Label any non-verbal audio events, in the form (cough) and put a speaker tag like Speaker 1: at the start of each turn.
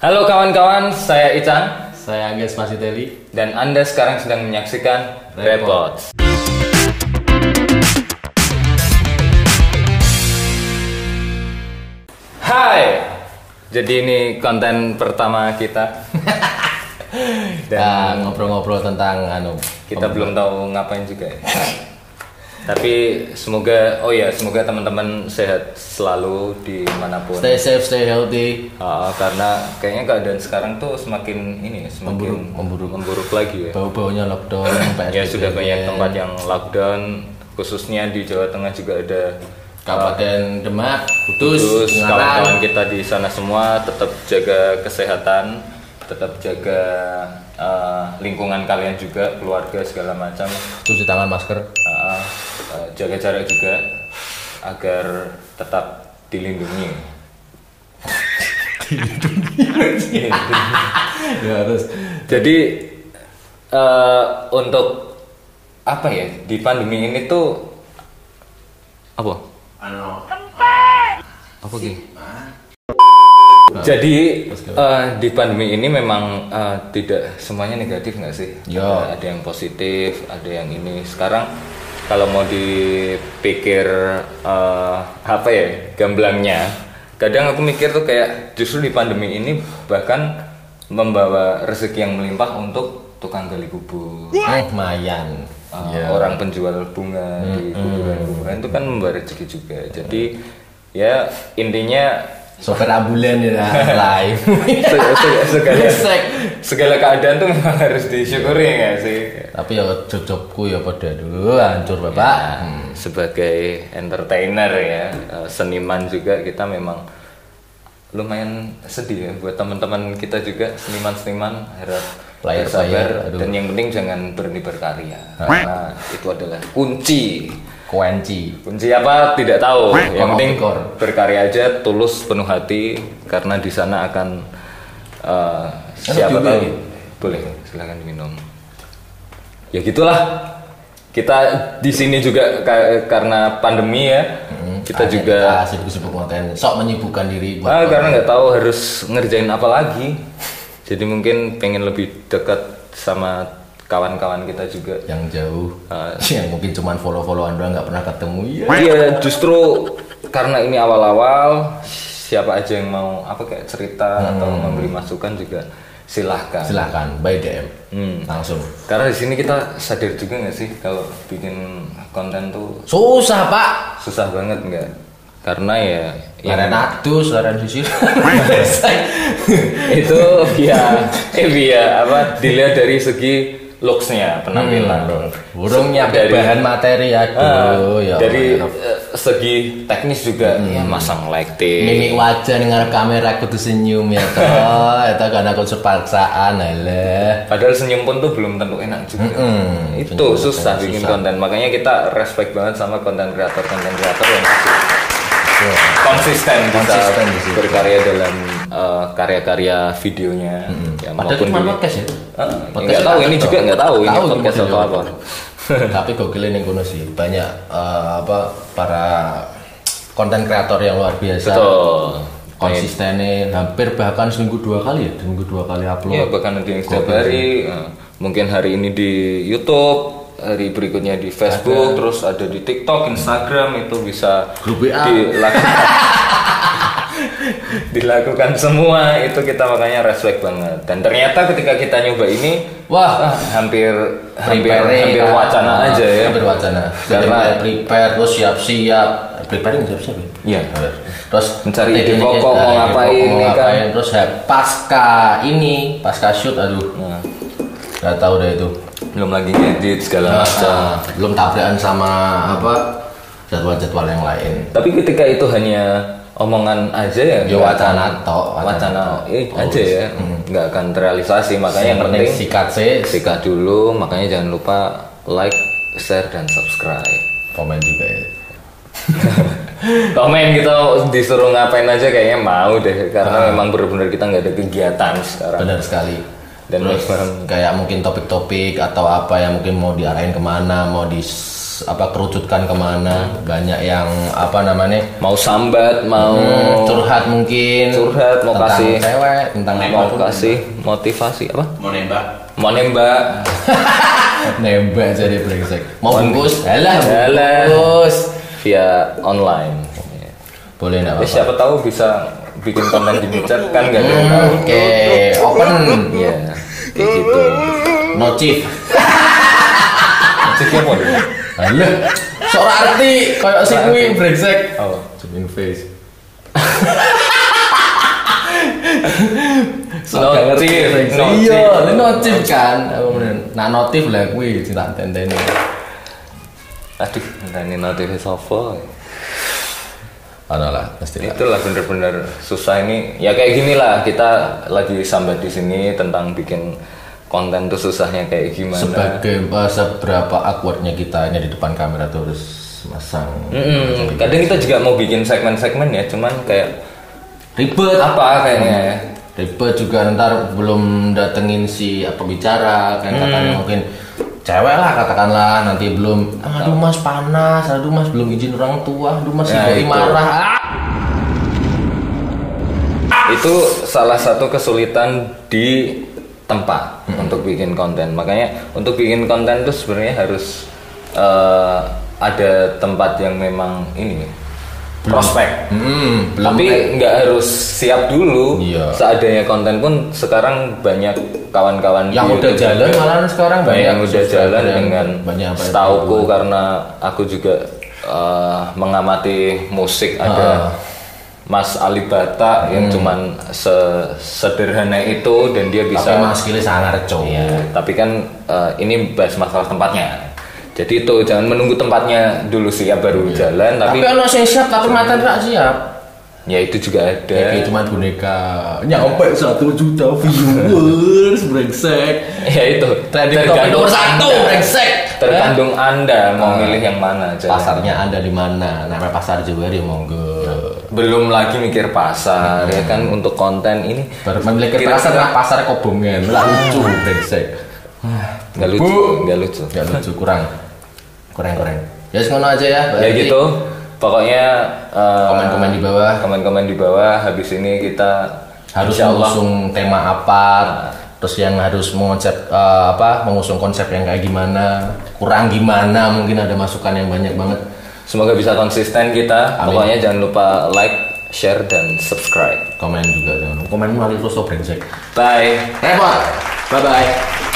Speaker 1: Halo kawan-kawan, saya Ican
Speaker 2: Saya Angges Masiteli.
Speaker 1: dan Anda sekarang sedang menyaksikan Repot.
Speaker 2: Repot.
Speaker 1: Hai. Jadi ini konten pertama kita. (laughs)
Speaker 2: Kita Ah,
Speaker 1: Dan
Speaker 2: ngobrol-ngobrol tentang anu.
Speaker 1: kita belum tahu ngapain juga ya. (laughs) Tapi semoga oh ya, semoga teman-teman sehat selalu dimanapun.
Speaker 2: Stay safe, stay healthy.
Speaker 1: Ah, karena kayaknya keadaan sekarang tuh semakin ini ya, semakin
Speaker 2: Memburuk, memburuk.
Speaker 1: lagi ya.
Speaker 2: Bau-baunya lockdown, PSBB.
Speaker 1: Ya sudah banyak tempat yang lockdown, khususnya di Jawa Tengah juga ada
Speaker 2: Kabupaten Demak, Kudus,
Speaker 1: Terus kawan-kawan
Speaker 2: Ungaran.
Speaker 1: kita di sana semua tetap jaga kesehatan, tetap jaga eh, lingkungan kalian juga, keluarga segala macam,
Speaker 2: cuci tangan
Speaker 1: (laughs)
Speaker 2: masker.
Speaker 1: Ah, eh, jaga jarak juga agar tetap
Speaker 2: (laughs)
Speaker 1: dilindungi. (laughs) dilindungi.
Speaker 2: ya terus
Speaker 1: Jadi eh, untuk apa ya di pandemi ini tuh apa? Apa gini? Jadi eh, di pandemi ini memang eh, tidak semuanya negatif nggak sih?
Speaker 2: Ya.
Speaker 1: Ada, ada yang positif, ada yang ini. Sekarang kalau mau dipikir eh, apa ya gamblangnya, kadang aku mikir tuh kayak justru di pandemi ini bahkan membawa rezeki yang melimpah untuk tukang gali kubur.
Speaker 2: eh mayan.
Speaker 1: Uh, orang penjual bunga di kuburan-kuburan itu kan membawa rezeki juga. Jadi ya intinya
Speaker 2: Sopir ambulan
Speaker 1: (laughs)
Speaker 2: ya live.
Speaker 1: se- se- segala
Speaker 2: Gesek.
Speaker 1: segala keadaan tuh memang harus disyukuri ya nggak sih.
Speaker 2: Tapi ya job-jobku ya pada dulu hancur bapak.
Speaker 1: Ya.
Speaker 2: Hmm.
Speaker 1: Sebagai entertainer ya, uh, seniman juga kita memang lumayan sedih ya buat teman-teman kita juga seniman-seniman harap
Speaker 2: Player-player,
Speaker 1: bersabar
Speaker 2: aduh.
Speaker 1: dan yang penting jangan berhenti berkarya karena itu adalah kunci
Speaker 2: Kuenci.
Speaker 1: Kunci apa tidak tahu. Yang
Speaker 2: Of
Speaker 1: penting
Speaker 2: the core.
Speaker 1: berkarya aja tulus penuh hati karena di sana akan eh, siapa
Speaker 2: juga
Speaker 1: tahu.
Speaker 2: ya?
Speaker 1: Boleh, silakan minum. Ya gitulah. Kita di sini juga ka- karena pandemi ya. Kita
Speaker 2: Akhirnya
Speaker 1: juga
Speaker 2: kita sibuk-sibuk konten. Sok menyibukkan diri buat
Speaker 1: ah, karena nggak tahu harus ngerjain apa lagi. Jadi mungkin pengen lebih dekat sama kawan-kawan kita juga.
Speaker 2: yang jauh
Speaker 1: Ah.
Speaker 2: (laughs) yang mungkin cuman follow followan doang nggak pernah ketemu ya
Speaker 1: Iya, justru karena ini awal-awal siapa aja yang mau apa kayak cerita atau
Speaker 2: Hmm.
Speaker 1: memberi masukan juga silahkan.
Speaker 2: silahkan by DM
Speaker 1: Hmm.
Speaker 2: langsung
Speaker 1: Karena di sini kita sadar juga nggak sih kalau bikin konten tuh
Speaker 2: susah pak
Speaker 1: susah banget nggak? Karena ya,
Speaker 2: (laughs)
Speaker 1: ya
Speaker 2: laren adus laren
Speaker 1: (laughs)
Speaker 2: sisir
Speaker 1: Iya. itu via eh via apa dilihat dari segi looksnya
Speaker 2: Hmm.
Speaker 1: penampilan.
Speaker 2: burung nyampe
Speaker 1: Dari-
Speaker 2: bahan materi aduh ya Hmm.
Speaker 1: dari
Speaker 2: Allah.
Speaker 1: eh, segi teknis juga ya masang lighting.
Speaker 2: mimik wajah nih ngarep kamera kudu senyum ya
Speaker 1: (laughs)
Speaker 2: toh itu karena aku paksaan alah
Speaker 1: Padahal senyum pun tuh belum tentu enak juga.
Speaker 2: Mm-mm.
Speaker 1: Itu
Speaker 2: Senyum
Speaker 1: susah
Speaker 2: pun
Speaker 1: bikin
Speaker 2: susah.
Speaker 1: konten. Makanya kita respect banget sama konten kreator konten kreator yang masih Iya. konsisten,
Speaker 2: Konsisten di
Speaker 1: bisa
Speaker 2: situ.
Speaker 1: berkarya dalam eh, karya-karya videonya. Ya,
Speaker 2: padahal
Speaker 1: maupun
Speaker 2: cuma
Speaker 1: di-
Speaker 2: podcast
Speaker 1: (laughs)
Speaker 2: ya
Speaker 1: Eh, nggak
Speaker 2: Podcast ya,
Speaker 1: tahu
Speaker 2: kan,
Speaker 1: ini
Speaker 2: toh.
Speaker 1: juga nggak tahu ini
Speaker 2: Tahu ini
Speaker 1: podcast atau
Speaker 2: modelnya
Speaker 1: apa.
Speaker 2: tapi gokilnya yang kono sih banyak eh, apa para konten kreator yang luar biasa
Speaker 1: Betul.
Speaker 2: konsistennya hampir bahkan seminggu dua kali ya seminggu dua kali upload
Speaker 1: Ya, bahkan nanti yang setiap hari, eh, mungkin hari ini di YouTube, hari berikutnya di Facebook, terus ada di TikTok, Instagram itu bisa
Speaker 2: Grup WA.
Speaker 1: dilakukan, dilakukan semua itu kita makanya respect banget. Dan ternyata ketika kita nyoba ini,
Speaker 2: Wah.
Speaker 1: ah, hampir hampir
Speaker 2: Prepare,
Speaker 1: hampir
Speaker 2: kan?
Speaker 1: wacana
Speaker 2: Ah,
Speaker 1: aja ya.
Speaker 2: hampir wacana
Speaker 1: Karena-
Speaker 2: karena prepare terus siap-siap prepare nggak siap-siap ya?
Speaker 1: Iya.
Speaker 2: terus
Speaker 1: Mencari ide
Speaker 2: tekniknya,
Speaker 1: pokok, mau
Speaker 2: ide
Speaker 1: ngapain,
Speaker 2: pokok, mau
Speaker 1: ya kan?
Speaker 2: ngapain. terus ya, pasca ini pasca shoot aduh nggak tahu deh itu
Speaker 1: Nah, belum lagi edit segala macam.
Speaker 2: Ah, belum tabrakan sama apa jadwal-jadwal yang lain
Speaker 1: Tapi ketika itu hanya omongan aja ya,
Speaker 2: Ya,
Speaker 1: nggak
Speaker 2: wacana
Speaker 1: akan-
Speaker 2: tok,
Speaker 1: wacana
Speaker 2: wacana
Speaker 1: eh, aja ya,
Speaker 2: Hmm.
Speaker 1: nggak akan terrealisasi. Makanya yang penting
Speaker 2: sikat sih
Speaker 1: sikat dulu. Makanya jangan lupa like, share dan
Speaker 2: (laughs)
Speaker 1: subscribe.
Speaker 2: komen juga ya
Speaker 1: Komen kita disuruh ngapain aja kayaknya mau deh,
Speaker 2: Ah.
Speaker 1: karena memang benar-benar kita nggak ada kegiatan sekarang.
Speaker 2: benar sekali
Speaker 1: Dan
Speaker 2: terus
Speaker 1: memang-
Speaker 2: kayak mungkin topik-topik atau apa yang mungkin mau diarahin kemana mau di s- apa kerucutkan kemana banyak yang apa namanya
Speaker 1: mau sambat mau
Speaker 2: hmm, curhat mungkin
Speaker 1: Oh. Curhat, mau
Speaker 2: tentang
Speaker 1: kasih-
Speaker 2: cewek tentang
Speaker 1: mau
Speaker 2: apapun.
Speaker 1: kasih motivasi apa ya,
Speaker 3: mau nembak
Speaker 1: mau nembak
Speaker 2: nembak jadi brengsek mau bungkus alah
Speaker 1: Alah.
Speaker 2: bungkus
Speaker 1: via online Ya.
Speaker 2: boleh nggak
Speaker 1: Ya,
Speaker 2: apa-apa
Speaker 1: siapa tahu bisa bikin konten di Micat kan gak ada yang tahu
Speaker 2: oke open
Speaker 1: ya kayak
Speaker 2: (laughs)
Speaker 1: gitu
Speaker 2: no chief
Speaker 1: Maksudnya apa nih?
Speaker 2: alah seorang arti kayak si kui brengsek
Speaker 1: Apa?
Speaker 2: Zoom in face
Speaker 1: No
Speaker 2: Agak ngerti,
Speaker 1: chief,
Speaker 2: brengsek.
Speaker 1: no
Speaker 2: iya
Speaker 1: chief.
Speaker 2: lu notif kan aku bener nah notif lah kui cinta tenteni
Speaker 1: aduh nah, ini notif sofa
Speaker 2: ada lah pasti lah
Speaker 1: itulah bener-bener susah ini ya kayak gini lah kita lagi sambat di sini tentang bikin konten tuh susahnya kayak gimana
Speaker 2: sebagai eh, seberapa awkwardnya kita ini di depan kamera tuh harus masang
Speaker 1: Mm-mm. kadang kita juga mau bikin segmen-segmen ya cuman kayak
Speaker 2: ribet
Speaker 1: apa kayaknya ya
Speaker 2: ribet juga ntar belum datengin si apa bicara
Speaker 1: Hmm.
Speaker 2: kan katanya mungkin cewek lah katakanlah nanti belum aduh mas panas aduh mas belum izin orang tua aduh mas
Speaker 1: Ya, itu.
Speaker 2: ibu marah Ah!
Speaker 1: itu salah satu kesulitan di tempat untuk bikin konten makanya untuk bikin konten itu sebenarnya harus eh, ada tempat yang memang ini prospek
Speaker 2: Mm, belum
Speaker 1: tapi nggak harus siap dulu
Speaker 2: Iya.
Speaker 1: seadanya konten pun sekarang banyak kawan-kawan
Speaker 2: yang
Speaker 1: di
Speaker 2: udah
Speaker 1: YouTube
Speaker 2: jalan
Speaker 1: gitu juga Nah,
Speaker 2: malah sekarang banyak
Speaker 1: yang udah
Speaker 2: subscriber
Speaker 1: jalan
Speaker 2: yang
Speaker 1: dengan
Speaker 2: banyak apa ya,
Speaker 1: setauku karena aku juga eh, mengamati musik
Speaker 2: Ah.
Speaker 1: ada Mas Alibata yang
Speaker 2: Hmm.
Speaker 1: cuman se- sederhana itu dan dia
Speaker 2: tapi
Speaker 1: bisa
Speaker 2: mas kili sangar cow
Speaker 1: tapi kan eh, ini bahas masalah tempatnya jadi itu jangan menunggu tempatnya dulu siap baru
Speaker 2: Iya.
Speaker 1: jalan tapi
Speaker 2: tapi ono sing siap tapi mata nggak siap
Speaker 1: ya itu juga ada
Speaker 2: Kayak cuma boneka nyampe satu juta viewers brengsek
Speaker 1: (laughs) ya itu
Speaker 2: Trending topic nomor satu,
Speaker 1: Anda.
Speaker 2: brengsek. Ah. Eh.
Speaker 1: tergantung anda mau milih yang mana jalan.
Speaker 2: pasarnya anda di mana namanya pasar juga ya monggo
Speaker 1: belum lagi mikir pasar ya kan untuk konten ini
Speaker 2: Ber- memiliki
Speaker 1: Kira-kira-
Speaker 2: pasar lah pasar kobongan lah lucu brengsek
Speaker 1: nggak lucu nggak lucu
Speaker 2: nggak lucu kurang kurang kurang ya ngono aja ya
Speaker 1: ya
Speaker 2: berarti.
Speaker 1: gitu pokoknya eh,
Speaker 2: Komen-komen di bawah.
Speaker 1: komen-komen di bawah habis ini kita
Speaker 2: harus
Speaker 1: Insya Allah.
Speaker 2: mengusung tema apa terus yang harus mengonsep eh, apa mengusung konsep yang kayak gimana kurang gimana mungkin ada masukan yang banyak banget
Speaker 1: semoga bisa konsisten kita pokoknya jangan lupa like share dan subscribe
Speaker 2: komen juga jangan komen malah terus lo brengsek
Speaker 1: bye
Speaker 2: repot bye bye